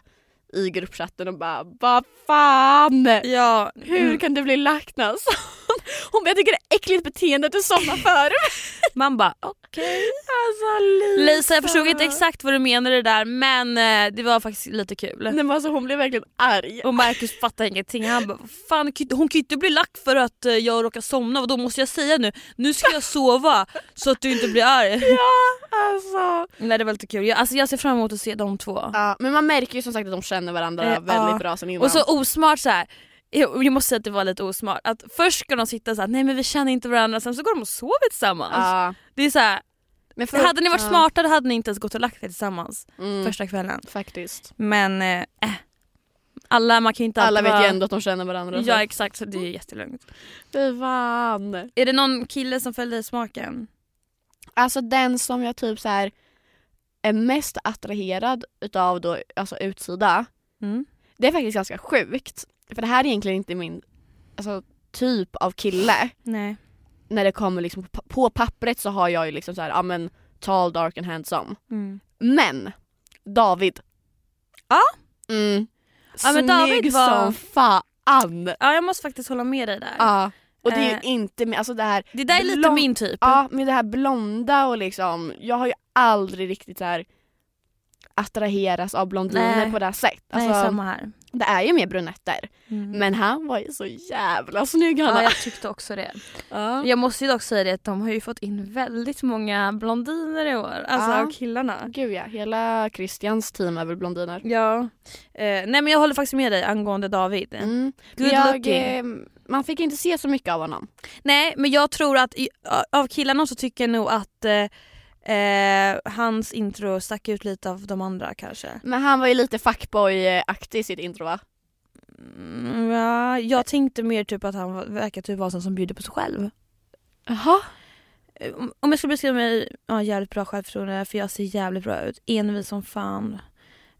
Speaker 1: i gruppchatten och bara vad fan!
Speaker 2: Ja. Mm.
Speaker 1: Hur kan du bli lack när jag somnar?" Hon bara jag tycker det är äckligt beteende att du somnar före mig.
Speaker 2: Man bara okej.
Speaker 1: Alltså Lisa.
Speaker 2: Lisa jag förstod inte exakt vad du menade där men eh, det var faktiskt lite kul.
Speaker 1: Nej men alltså hon blev verkligen arg.
Speaker 2: Och Marcus fattar ingenting. Han bara, "Vad fan, kan- hon kan ju inte bli lack för att eh, jag råkar somna. Då måste jag säga nu? Nu ska jag sova så att du inte blir arg.
Speaker 1: Alltså.
Speaker 2: Nej det var lite kul. Jag, alltså, jag ser fram emot att se de två.
Speaker 1: Ja, men man märker ju som sagt att de känner varandra
Speaker 2: Eh,
Speaker 1: väldigt
Speaker 2: ja.
Speaker 1: bra sen innan.
Speaker 2: Och så osmart så här. Jag jag måste säga att det var lite osmart. Att först ska de sitta så här, nej men vi känner inte varandra, sen så går de och sover tillsammans.
Speaker 1: Ja.
Speaker 2: Det är så här,
Speaker 1: Men för-
Speaker 2: hade ni varit
Speaker 1: ja.
Speaker 2: smartare hade ni inte ens gått och lagt er tillsammans
Speaker 1: Mm,
Speaker 2: första kvällen.
Speaker 1: faktiskt.
Speaker 2: Men eh, eh. alla, man kan ju inte
Speaker 1: Alla
Speaker 2: alltid
Speaker 1: vet ju
Speaker 2: vara-
Speaker 1: ändå att de Mm. känner varandra. så.
Speaker 2: Ja exakt, så det är jättelugnt.
Speaker 1: Fy fan.
Speaker 2: Är det någon kille som föll dig i smaken?
Speaker 1: Alltså den som jag typ så här är mest attraherad utav då, alltså utsida.
Speaker 2: Mm.
Speaker 1: Det är faktiskt ganska sjukt. För det här är egentligen inte min alltså, typ av kille.
Speaker 2: Nej.
Speaker 1: När det kommer liksom på, på pappret så har jag ju liksom så här, ja men tall, dark and handsome.
Speaker 2: Mm.
Speaker 1: Men David.
Speaker 2: Ja.
Speaker 1: Mm.
Speaker 2: Ja, men David
Speaker 1: Snygg
Speaker 2: var-
Speaker 1: som fan.
Speaker 2: Ja jag måste faktiskt hålla med dig där.
Speaker 1: Ja. Och Och det är
Speaker 2: Eh.
Speaker 1: ju inte min, alltså det här,
Speaker 2: Det där är lite
Speaker 1: Blond-
Speaker 2: min typ.
Speaker 1: ja med det här blonda och liksom, jag har ju aldrig riktigt så här attraheras av blondiner
Speaker 2: Nej.
Speaker 1: på det här sättet. Alltså,
Speaker 2: Nej, samma här.
Speaker 1: Det är ju mer brunetter.
Speaker 2: Mm.
Speaker 1: Men han var ju så jävla snygg
Speaker 2: Ja,
Speaker 1: Hanna.
Speaker 2: jag tyckte också det.
Speaker 1: Ja.
Speaker 2: Jag måste ju dock säga det att de har ju fått in väldigt många blondiner i år. Alltså
Speaker 1: Ja.
Speaker 2: av killarna.
Speaker 1: Gud ja, hela Christians team är väl blondiner.
Speaker 2: Ja. Eh, nej men jag håller faktiskt med dig angående David.
Speaker 1: Mm.
Speaker 2: Good
Speaker 1: jag,
Speaker 2: looking.
Speaker 1: eh, man fick inte se så mycket av honom.
Speaker 2: Nej men jag tror att i, av killarna så tycker jag nog att eh, eh, hans intro stack ut lite av de andra kanske.
Speaker 1: Men han var ju lite fuckboy-aktig i sitt intro va?
Speaker 2: Mm, ja, jag tänkte mer typ att han var- verkar typ vara en sån som bjuder på sig själv.
Speaker 1: Jaha.
Speaker 2: Eh, om- Om jag skulle beskriva mig, ja jävligt bra självförtroende för jag ser jävligt bra ut. Envis som fan.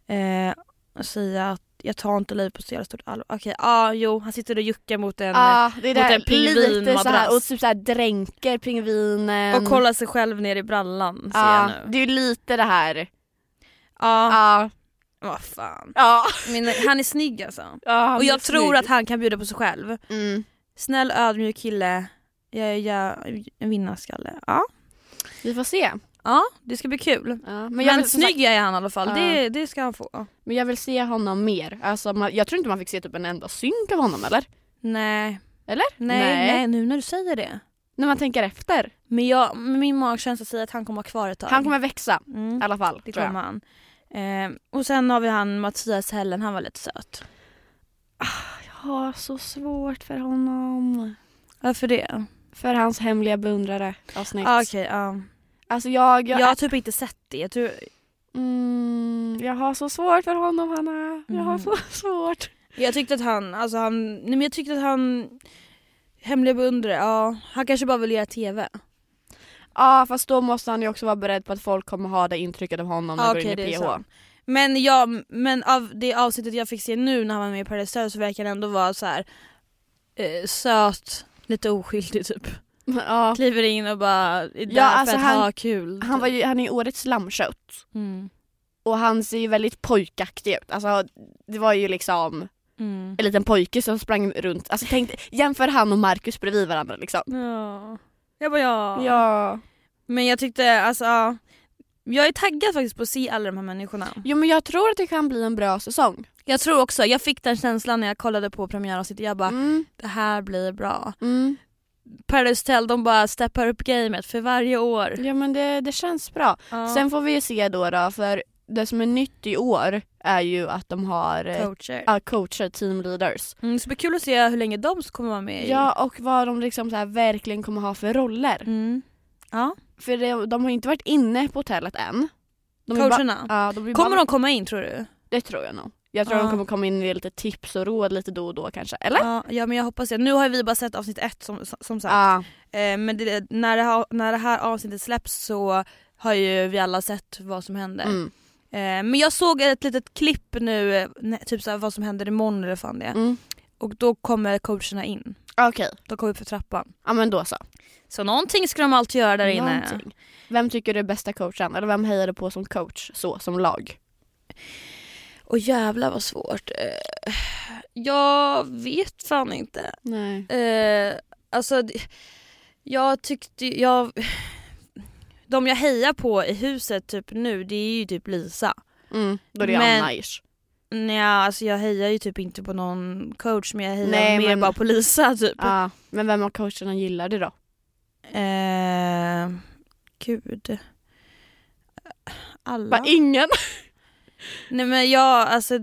Speaker 2: Eh, och säga att jag tar inte livet på så jävla stort allvar. Okej, ja jo han sitter och juckar mot en
Speaker 1: Ja, det är
Speaker 2: Mot en
Speaker 1: där lite så
Speaker 2: pingvinmadrass.
Speaker 1: här, och typ så här dränker pingvinen.
Speaker 2: och kollar sig själv ner i brallan ser
Speaker 1: Ja,
Speaker 2: jag nu.
Speaker 1: det är ju lite det här.
Speaker 2: Ja,
Speaker 1: Ja.
Speaker 2: vad fan.
Speaker 1: Ja.
Speaker 2: Men han är snygg alltså.
Speaker 1: ja han
Speaker 2: Och
Speaker 1: är
Speaker 2: jag tror
Speaker 1: snygg.
Speaker 2: att han kan bjuda på sig själv.
Speaker 1: Mm.
Speaker 2: Snäll ödmjuk kille. Jag är jä- en vinnarskalle. Ja.
Speaker 1: Vi får se.
Speaker 2: ja, det ska bli kul.
Speaker 1: Ja, men,
Speaker 2: Men,
Speaker 1: jag vill, som
Speaker 2: snygg är han i alla fall,
Speaker 1: Ja.
Speaker 2: det, det ska han få.
Speaker 1: sagt- men jag vill se honom mer. Alltså, man, jag tror inte man fick se typ en enda synk av honom eller?
Speaker 2: Nej.
Speaker 1: Eller?
Speaker 2: Nej, nej.
Speaker 1: Nej.
Speaker 2: nu när du säger det.
Speaker 1: När man tänker efter.
Speaker 2: Men jag, min magkänsla säger att han kommer vara kvar ett tag.
Speaker 1: Han kommer växa i
Speaker 2: mm,
Speaker 1: alla fall.
Speaker 2: det
Speaker 1: tror jag.
Speaker 2: kommer han. Ehm, och sen har vi han Mattias Hellen, han var lite söt.
Speaker 1: Jag har så svårt för honom.
Speaker 2: Varför det?
Speaker 1: För hans hemliga beundrare avsnitt.
Speaker 2: Ah, Okej, ja.
Speaker 1: Alltså jag,
Speaker 2: jag,
Speaker 1: jag,
Speaker 2: har typ inte sett det. Jag tror,
Speaker 1: Mm, jag har så svårt för honom Hanna. Jag har
Speaker 2: Mhm.
Speaker 1: så svårt.
Speaker 2: Jag tyckte att han, alltså han, nej men jag tyckte att han Hemliga beundrare, ja han kanske bara vill göra TV.
Speaker 1: Ja fast då måste han ju också vara beredd på att folk kommer ha det intrycket av honom när
Speaker 2: Ja,
Speaker 1: han går
Speaker 2: Ah, okej,
Speaker 1: in
Speaker 2: det
Speaker 1: i
Speaker 2: är
Speaker 1: PH.
Speaker 2: sant. Men ja, men av det avsnittet jag fick se nu när han var med i Paradise Hotel så verkar han ändå vara så här eh, söt, lite oskyldig typ.
Speaker 1: Ja.
Speaker 2: Kliver in och bara är där
Speaker 1: Ja, alltså
Speaker 2: för att
Speaker 1: han-
Speaker 2: ha kul.
Speaker 1: Han, var ju, han är ju årets lammkött
Speaker 2: mm.
Speaker 1: och han ser ju väldigt pojkaktig ut. Alltså det var ju liksom
Speaker 2: Mm.
Speaker 1: en liten pojke som sprang runt. Alltså tänk, jämför han och Marcus bredvid varandra liksom.
Speaker 2: Ja. Jag bara ja.
Speaker 1: Ja.
Speaker 2: Men jag tyckte alltså ja. Jag är taggad faktiskt på att se alla de här människorna.
Speaker 1: Jo men jag tror att det kan bli en bra säsong.
Speaker 2: Jag tror också, jag fick den känslan när jag kollade på premiäravsnittet. Jag bara
Speaker 1: Mm,
Speaker 2: det här blir bra.
Speaker 1: mm.
Speaker 2: Paradise Hotel de bara steppar upp gamet för varje år.
Speaker 1: Ja men det, det känns bra.
Speaker 2: Sen
Speaker 1: Sen får vi ju se då, då för det som är nytt i år är ju att de har eh,
Speaker 2: coacher.
Speaker 1: ja, coacher, team leaders.
Speaker 2: Mm, så det blir kul att se hur länge de kommer vara med i.
Speaker 1: Ja och vad de liksom så här verkligen kommer ha för roller.
Speaker 2: Mm. ja.
Speaker 1: För det, de har ju inte varit inne på hotellet än. De är bara,
Speaker 2: coacherna.
Speaker 1: ja, de är
Speaker 2: kommer
Speaker 1: bara,
Speaker 2: de komma in tror du?
Speaker 1: Det tror jag nog. Jag tror
Speaker 2: Ja.
Speaker 1: de kommer komma in med lite tips och råd lite då och då kanske. Eller?
Speaker 2: Ja, ja men jag hoppas det. Nu har vi bara sett avsnitt ett som, som sagt.
Speaker 1: Ja.
Speaker 2: Eh, men det, när, det här, när det här avsnittet släpps så har ju vi alla sett vad som händer.
Speaker 1: Mm.
Speaker 2: Eh, men jag såg ett litet klipp nu, eh, när- typ såhär, vad som händer imorgon eller vad fan det är.
Speaker 1: Mm.
Speaker 2: Och då kommer coacherna in.
Speaker 1: Okej,
Speaker 2: De kommer upp för trappan.
Speaker 1: ja men då så.
Speaker 2: Så någonting ska de alltid göra där inne.
Speaker 1: Någonting. Vem tycker du är bästa coachen? Eller vem hejar du på som coach så, som lag?
Speaker 2: Och jävla vad svårt. Eh, Jag vet fan inte.
Speaker 1: Nej.
Speaker 2: Eh, Alltså, d- jag tyckte... Jag... De jag hejar på i huset typ nu det är ju typ Lisa.
Speaker 1: Mm, då är det
Speaker 2: Men-
Speaker 1: Anna ish.
Speaker 2: Nej, alltså jag hejar ju typ inte på någon coach men jag hejar
Speaker 1: Nej,
Speaker 2: mer
Speaker 1: men-
Speaker 2: bara på Lisa typ.
Speaker 1: Ja, men vem av coacherna gillar du då?
Speaker 2: Eh, gud. Alla.
Speaker 1: Bara ingen.
Speaker 2: Nej men jag alltså,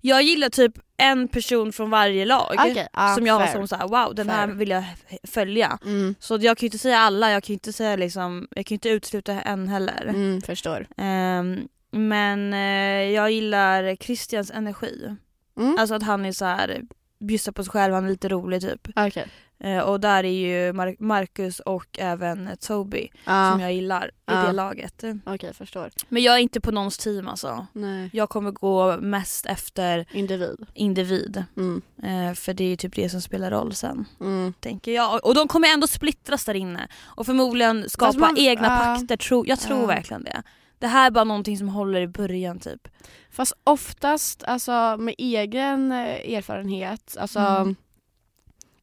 Speaker 2: jag gillar typ en person från varje lag.
Speaker 1: Okej, ja,
Speaker 2: som jag har
Speaker 1: fair.
Speaker 2: som såhär wow den här
Speaker 1: Fair.
Speaker 2: vill jag f- följa.
Speaker 1: Mm,
Speaker 2: Så jag kan ju inte säga alla, jag kan ju inte säga liksom, jag kan ju inte utesluta en heller.
Speaker 1: mm, förstår.
Speaker 2: Ehm, men eh, jag gillar Christians energi.
Speaker 1: Mm.
Speaker 2: Alltså att han är så här bjussar på sig själv, han är lite rolig typ.
Speaker 1: Okej.
Speaker 2: Eh, och där är ju Mar- Marcus och även Toby som
Speaker 1: Ja,
Speaker 2: jag gillar i
Speaker 1: Ja.
Speaker 2: det laget.
Speaker 1: okej förstår.
Speaker 2: Men jag är inte på någons team alltså.
Speaker 1: Nej.
Speaker 2: Jag kommer gå mest efter
Speaker 1: Individ.
Speaker 2: individ.
Speaker 1: Mm,
Speaker 2: Eh, för det är ju typ det som spelar roll sen.
Speaker 1: mm.
Speaker 2: Tänker jag. Och- Och de kommer ändå splittras där inne. Och förmodligen skapa
Speaker 1: Fast man-
Speaker 2: egna
Speaker 1: ja.
Speaker 2: pakter. Tro, jag tror
Speaker 1: Ja.
Speaker 2: verkligen det. Det här är bara någonting som håller i början typ.
Speaker 1: Fast oftast, alltså med egen eh, erfarenhet, alltså
Speaker 2: Mm.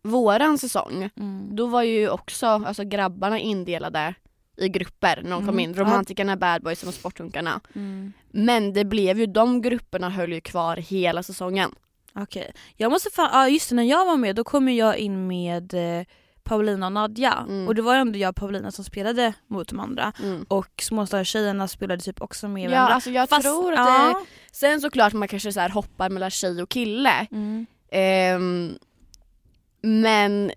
Speaker 1: våran säsong,
Speaker 2: Mm.
Speaker 1: då var ju också alltså, grabbarna indelade i grupper när de kom
Speaker 2: Mm.
Speaker 1: in.
Speaker 2: Ja.
Speaker 1: Romantikerna, badboysen och sporthunkarna. Mm. Men det blev ju, de grupperna höll ju kvar hela säsongen.
Speaker 2: Okej. Jag måste fan, ja just det, när jag var med då kom ju jag in med eh, Paulina och Nadja
Speaker 1: Mm.
Speaker 2: och det var ju ändå jag och Paulina som spelade mot de andra och småstadstjejerna spelade typ också med
Speaker 1: Ja,
Speaker 2: varandra.
Speaker 1: alltså jag
Speaker 2: Mm. Fast-
Speaker 1: tror att det,
Speaker 2: ja.
Speaker 1: Sen såklart man kanske så här hoppar mellan tjej och kille.
Speaker 2: Mm.
Speaker 1: Ehm, men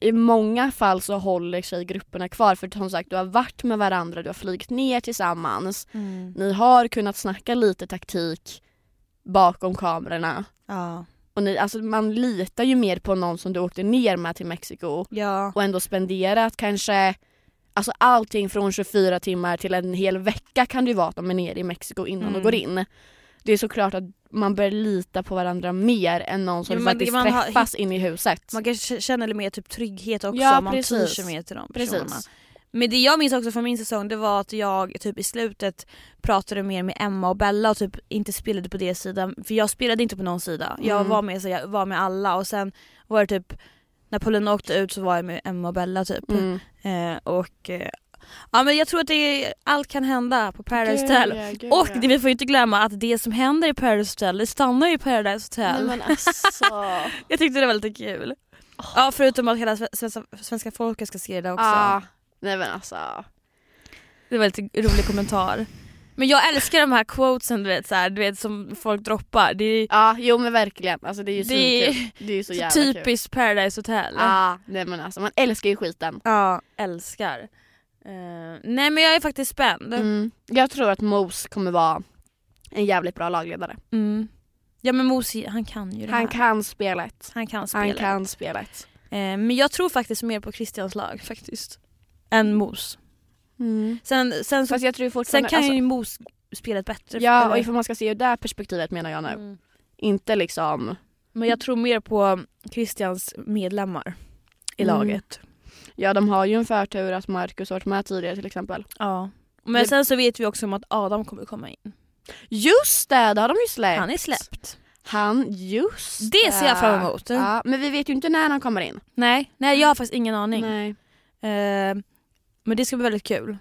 Speaker 1: i många fall så håller tjejgrupperna kvar för som sagt du har varit med varandra, du har flygit ner tillsammans.
Speaker 2: Mm.
Speaker 1: Ni har kunnat snacka lite taktik bakom kamerorna.
Speaker 2: Ja.
Speaker 1: Och ni, alltså man litar ju mer på någon som du åkte ner med till Mexiko
Speaker 2: ja.
Speaker 1: och ändå spenderat kanske Alltså allting från 24 timmar till en hel vecka kan det ju vara att de är nere i Mexiko innan
Speaker 2: Mm.
Speaker 1: de går in. Det är såklart att man börjar lita på varandra mer än någon som
Speaker 2: Ja, men
Speaker 1: faktiskt
Speaker 2: man har-
Speaker 1: träffas inne i huset.
Speaker 2: Man kanske känner lite mer typ trygghet också,
Speaker 1: Ja,
Speaker 2: man
Speaker 1: precis.
Speaker 2: tyr sig mer till de personerna.
Speaker 1: Precis.
Speaker 2: Men det jag minns också från min säsong det var att jag typ i slutet pratade mer med Emma och Bella och typ inte spelade på deras sida. För jag spelade inte på någon sida. Jag
Speaker 1: Mm.
Speaker 2: var med, så jag var med alla och sen var det typ när Paulina åkte ut så var jag med Emma och Bella typ.
Speaker 1: Mm.
Speaker 2: Eh, och eh, ja men jag tror att det är, allt kan hända på Paradise Hotel. Och det, vi får ju inte glömma att det som händer i Paradise Hotel det stannar ju i Paradise Hotel.
Speaker 1: Nej men alltså.
Speaker 2: Jag tyckte det var lite kul. Ja förutom att hela sve- svenska, svenska folket ska se det också.
Speaker 1: ah, nej men alltså.
Speaker 2: Det var lite rolig kommentar. Men jag älskar de här quotesen du vet, så här, du vet som folk droppar. Det är
Speaker 1: Ja jo men verkligen. Alltså det är ju så,
Speaker 2: Det är-
Speaker 1: kul. Det är ju så jävla kul.
Speaker 2: typiskt Paradise Hotel.
Speaker 1: Ah, nej men alltså man älskar ju skiten.
Speaker 2: Ja, älskar. Eh, nej men jag är faktiskt spänd. Mm.
Speaker 1: Mm. Jag tror att Mos kommer vara en jävligt bra lagledare.
Speaker 2: Ja men Mosi han kan ju det
Speaker 1: Han
Speaker 2: här.
Speaker 1: kan spelet.
Speaker 2: han kan spela.
Speaker 1: Han kan spelet.
Speaker 2: Eh, men jag tror faktiskt mer på Christians lag faktiskt. Än Mos.
Speaker 1: Mm.
Speaker 2: Sen, sen, så,
Speaker 1: Fast jag tror
Speaker 2: sen
Speaker 1: fortfarande...
Speaker 2: kan
Speaker 1: alltså,
Speaker 2: ju Mos spela ett bättre
Speaker 1: ja,
Speaker 2: eller-
Speaker 1: och ifall man ska se ur det här perspektivet menar jag nu.
Speaker 2: Mm.
Speaker 1: Inte liksom...
Speaker 2: Men jag tror mer på Christians medlemmar i
Speaker 1: Mm.
Speaker 2: laget.
Speaker 1: Ja, de har ju en förtur att Marcus har varit med tidigare till exempel.
Speaker 2: Ja. Men
Speaker 1: Det-
Speaker 2: sen så vet vi också om att Adam kommer komma in.
Speaker 1: Just det, det har de ju släppt.
Speaker 2: Han är släppt.
Speaker 1: Han, just
Speaker 2: Det ser jag fram emot.
Speaker 1: Ja, men vi vet ju inte när han kommer in.
Speaker 2: Nej, nej jag har faktiskt ingen aning.
Speaker 1: Nej.
Speaker 2: Eh, men det ska bli väldigt kul.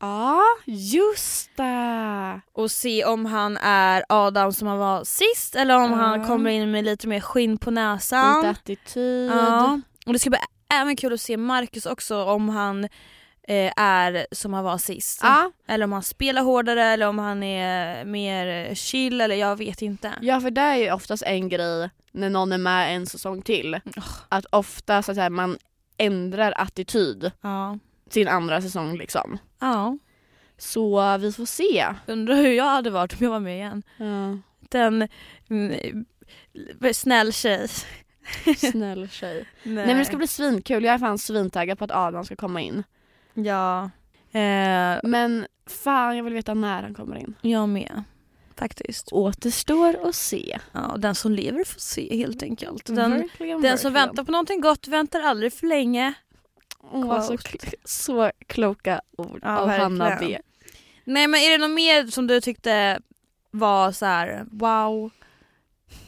Speaker 1: Ja, just det.
Speaker 2: Och se om han är Adam som han var sist eller om
Speaker 1: Ja.
Speaker 2: han kommer in med lite mer skinn på
Speaker 1: Lite
Speaker 2: näsan.
Speaker 1: attityd.
Speaker 2: Ja. Och det ska bli ä- även kul att se Marcus också om han eh, är som han var sist.
Speaker 1: Ja,
Speaker 2: Eller om han spelar hårdare eller om han är mer chill eller jag vet inte.
Speaker 1: Ja för det är ju oftast en grej när någon är med en säsong till. Att ofta så att säga, man ändrar attityd
Speaker 2: Ja.
Speaker 1: sin andra säsong liksom.
Speaker 2: ja.
Speaker 1: Så vi får se.
Speaker 2: Undrar hur jag hade varit om jag var med igen. Den mm, snäll tjej.
Speaker 1: Snäll tjej. Nej men det ska bli svinkul, jag är fan svintaggad på att Adam ska komma in.
Speaker 2: Ja. Eh,
Speaker 1: Men fan jag vill veta när han kommer in.
Speaker 2: jag med. Faktiskt.
Speaker 1: Återstår att se.
Speaker 2: Ja, och den som lever får se helt enkelt. Den,
Speaker 1: Mm-hmm. verkligen,
Speaker 2: den som väntar på någonting gott väntar aldrig för länge.
Speaker 1: Åh, så, kl- så kloka ord
Speaker 2: Ja,
Speaker 1: av Hanna B.
Speaker 2: verkligen. Nej men är det något mer som du tyckte var så här: wow?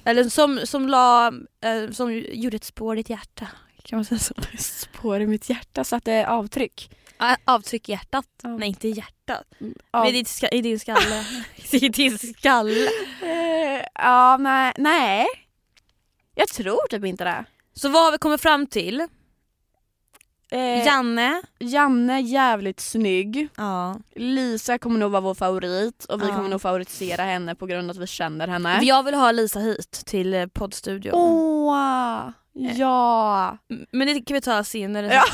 Speaker 2: Eller som, som, la, eh, som gjorde ett spår i ditt hjärta? Kan man säga så?
Speaker 1: Spår i mitt hjärta satte avtryck.
Speaker 2: Ah, Avtryck i hjärtat?
Speaker 1: Ja.
Speaker 2: Nej inte i hjärtat.
Speaker 1: Av-
Speaker 2: Men i, ditt ska, I din skalle. I din skalle.
Speaker 1: Eh, ja, nej, nej. Jag tror typ inte det.
Speaker 2: Så vad har vi kommit fram till?
Speaker 1: Eh,
Speaker 2: Janne.
Speaker 1: Janne jävligt snygg.
Speaker 2: Ja.
Speaker 1: Lisa kommer nog vara vår favorit och vi
Speaker 2: Ja.
Speaker 1: kommer nog favoritisera henne på grund av att vi känner henne.
Speaker 2: Jag vill ha Lisa hit till eh, poddstudion.
Speaker 1: Åh, ja.
Speaker 2: M- Men det kan vi ta senare.
Speaker 1: Ja.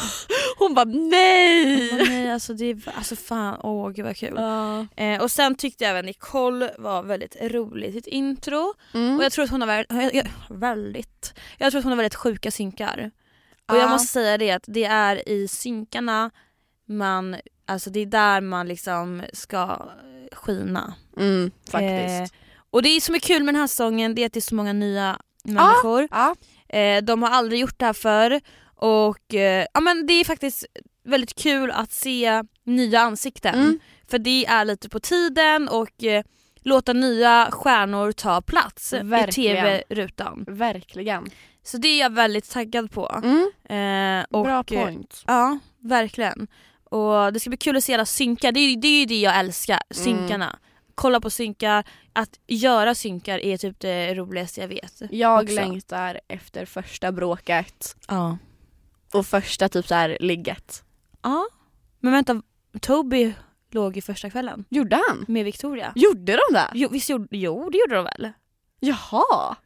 Speaker 1: Hon bara nej.
Speaker 2: Åh, nej, alltså, det är, alltså fan, åh gud vad kul. Eh, och sen tyckte jag även Nicole var väldigt rolig i sitt intro.
Speaker 1: Mm.
Speaker 2: Och jag tror att hon har väldigt, jag, jag, väldigt, jag tror att hon har väldigt sjuka synkar. Och jag
Speaker 1: Ja.
Speaker 2: måste säga det att det är i synkarna man, alltså det är där man liksom ska skina.
Speaker 1: Mm, faktiskt. Ah!
Speaker 2: Eh, och det som är kul med den här säsongen det är att det är så många nya människor.
Speaker 1: ja.
Speaker 2: Eh, de har aldrig gjort det här förr och eh, ja, men det är faktiskt väldigt kul att se nya ansikten.
Speaker 1: Mm.
Speaker 2: För det är lite på tiden och eh, låta nya stjärnor ta plats i
Speaker 1: Verkligen.
Speaker 2: tv-rutan.
Speaker 1: Verkligen.
Speaker 2: Så det är jag väldigt taggad på.
Speaker 1: Mm.
Speaker 2: Eh, och,
Speaker 1: Bra
Speaker 2: eh,
Speaker 1: point.
Speaker 2: Ja, verkligen. Och det ska bli kul att se alla synkar, det är, ju- det är ju det jag älskar, synkarna. Kolla på synkar, att göra synkar är typ det roligaste jag vet.
Speaker 1: Jag
Speaker 2: också.
Speaker 1: längtar efter första bråket
Speaker 2: Ja.
Speaker 1: och första typ så här ligget.
Speaker 2: ja. Men vänta, Toby låg i första kvällen
Speaker 1: Gjorde han?
Speaker 2: med Victoria.
Speaker 1: Gjorde de det?
Speaker 2: Jo, visst gjorde, jo det gjorde de väl?
Speaker 1: Jaha.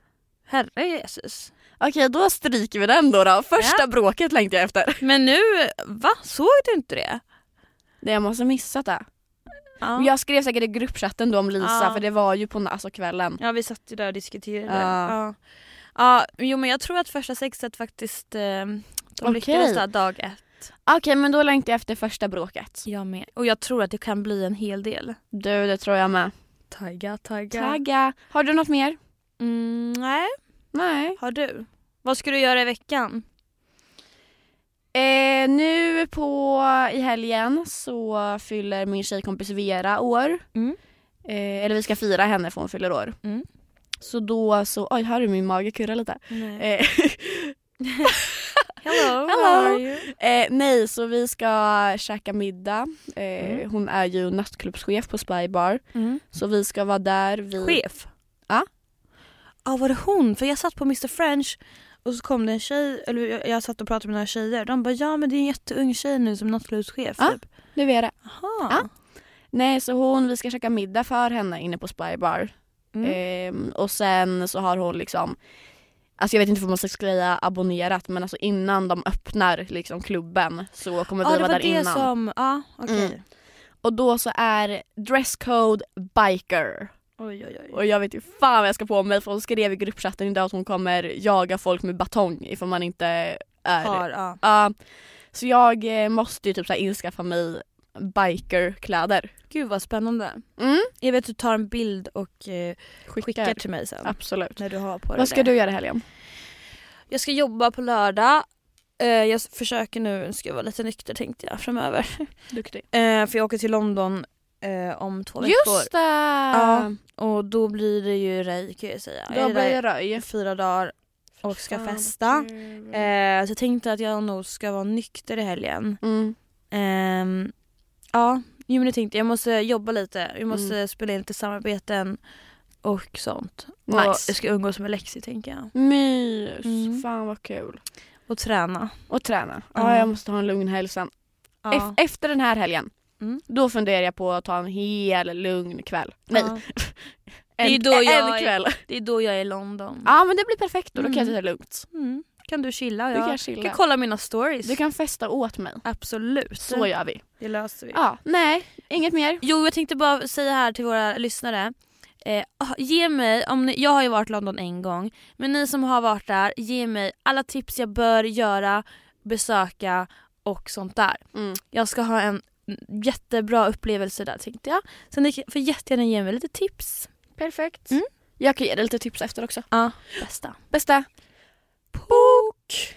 Speaker 2: Herre Jesus.
Speaker 1: Okej då stryker vi den då. då. Första bråket längtar jag efter.
Speaker 2: Men nu, va? Såg du inte det?
Speaker 1: Det jag måste ha missat det.
Speaker 2: Ja,
Speaker 1: Men Jag skrev säkert i gruppchatten då om Lisa
Speaker 2: Ja.
Speaker 1: för det var ju på na- alltså kvällen.
Speaker 2: ja vi satt ju där och diskuterade.
Speaker 1: Ja.
Speaker 2: Ja. Ja, jo men jag tror att första sexet faktiskt, eh, de
Speaker 1: Okej.
Speaker 2: lyckades där dag ett.
Speaker 1: Okej men då längtar jag efter första bråket.
Speaker 2: Jag med. Och jag tror att det kan bli en hel del.
Speaker 1: Du det tror jag med.
Speaker 2: Tagga, tagga.
Speaker 1: Tagga. Har du något mer?
Speaker 2: Mm, nej,
Speaker 1: Nej.
Speaker 2: har du? Vad ska du göra i veckan?
Speaker 1: Eh, nu på i helgen så fyller min tjejkompis Vera år.
Speaker 2: Mm.
Speaker 1: Eh, eller vi ska fira henne för hon fyller år.
Speaker 2: Mm.
Speaker 1: Så då så, oj hör du min mage kurra lite?
Speaker 2: Nej.
Speaker 1: Eh,
Speaker 2: Eh, Hello,
Speaker 1: Hello.
Speaker 2: how are you?
Speaker 1: eh, nej så vi ska käka middag. Eh,
Speaker 2: Mm.
Speaker 1: Hon är ju nattklubbschef på Spy Bar. Så vi ska vara där vid...
Speaker 2: Chef?
Speaker 1: Ja.
Speaker 2: Ja, var det hon? För jag satt på Mr French och så kom det en tjej, eller jag, jag satt och pratade med några tjejer. De bara ja men det är en jätteung tjej nu som nattklubbschef.
Speaker 1: Ja.
Speaker 2: Typ.
Speaker 1: Nu är det.
Speaker 2: Aha.
Speaker 1: Ja. Nej så hon, vi ska käka middag för henne inne på Spy Bar.
Speaker 2: Mm.
Speaker 1: Ehm, och sen så har hon liksom Alltså jag vet inte om man ska säga abonnerat men alltså innan de öppnar liksom klubben så kommer
Speaker 2: Ja,
Speaker 1: vi
Speaker 2: det
Speaker 1: vara
Speaker 2: var
Speaker 1: där
Speaker 2: det
Speaker 1: innan.
Speaker 2: som, ja okej.
Speaker 1: Mm. Och då så är dresscode biker.
Speaker 2: Oj oj oj.
Speaker 1: Och jag vet ju fan vad jag ska på mig för hon skrev i gruppchatten idag att hon kommer jaga folk med batong ifall man inte är...
Speaker 2: Har, ja.
Speaker 1: Ja. så jag eh, måste ju typ så här inskaffa mig bikerkläder.
Speaker 2: Gud vad spännande.
Speaker 1: Mm.
Speaker 2: Jag vet att du tar en bild och eh,
Speaker 1: Skickar.
Speaker 2: skickar till mig sen.
Speaker 1: Absolut.
Speaker 2: När du har på dig
Speaker 1: Vad ska
Speaker 2: det.
Speaker 1: du göra i helgen?
Speaker 2: Jag ska jobba på lördag. Eh, jag s- försöker nu, ska jag vara lite nykter tänkte jag framöver.
Speaker 1: Duktig.
Speaker 2: Eh, för jag åker till London eh, om två veckor.
Speaker 1: Just det!
Speaker 2: Ja, Och då blir det ju röj kan jag säga.
Speaker 1: Då
Speaker 2: jag är
Speaker 1: blir det
Speaker 2: där i
Speaker 1: röj.
Speaker 2: fyra dagar och ska
Speaker 1: Fan, vad
Speaker 2: festa.
Speaker 1: kul.
Speaker 2: Eh, så jag tänkte att jag nog ska vara nykter i helgen.
Speaker 1: Mm.
Speaker 2: Ehm, ja, jo men det tänkte jag. Jag måste jobba lite. Jag måste
Speaker 1: Mm.
Speaker 2: spela in lite samarbeten och sånt. Och
Speaker 1: Nice.
Speaker 2: jag ska umgås med Lexi tänker jag.
Speaker 1: Mys,
Speaker 2: Mm.
Speaker 1: fan vad kul.
Speaker 2: Och träna.
Speaker 1: Och träna. Ja,
Speaker 2: Ja.
Speaker 1: jag måste ha en lugn helg sen.
Speaker 2: Ja.
Speaker 1: Ef- efter den här helgen,
Speaker 2: Mm.
Speaker 1: då funderar jag på att ta en hel lugn kväll. Nej,
Speaker 2: Ja.
Speaker 1: en,
Speaker 2: Det är då
Speaker 1: en
Speaker 2: jag är-
Speaker 1: kväll.
Speaker 2: Det är då jag är i London.
Speaker 1: Ja men det blir perfekt då, då kan jag
Speaker 2: Mm.
Speaker 1: ta det lugnt.
Speaker 2: Mm. Kan du chilla?
Speaker 1: Du
Speaker 2: Jag
Speaker 1: kan
Speaker 2: Du kan
Speaker 1: chilla.
Speaker 2: kolla mina stories.
Speaker 1: Du kan festa åt mig.
Speaker 2: Absolut.
Speaker 1: Så gör vi.
Speaker 2: Det löser vi.
Speaker 1: Ja, nej, inget mer.
Speaker 2: Jo, jag tänkte bara säga här till våra lyssnare. Eh, ah, ge mig, om ni, jag har ju varit i London en gång, men ni som har varit där, ge mig alla tips jag bör göra, besöka och sånt där.
Speaker 1: Mm.
Speaker 2: Jag ska ha en jättebra upplevelse där tänkte jag. Så ni får jättegärna ge mig lite tips.
Speaker 1: Perfekt.
Speaker 2: Mm.
Speaker 1: Jag kan ge dig lite tips efter också.
Speaker 2: Ja, bästa.
Speaker 1: Bästa!
Speaker 2: Pok!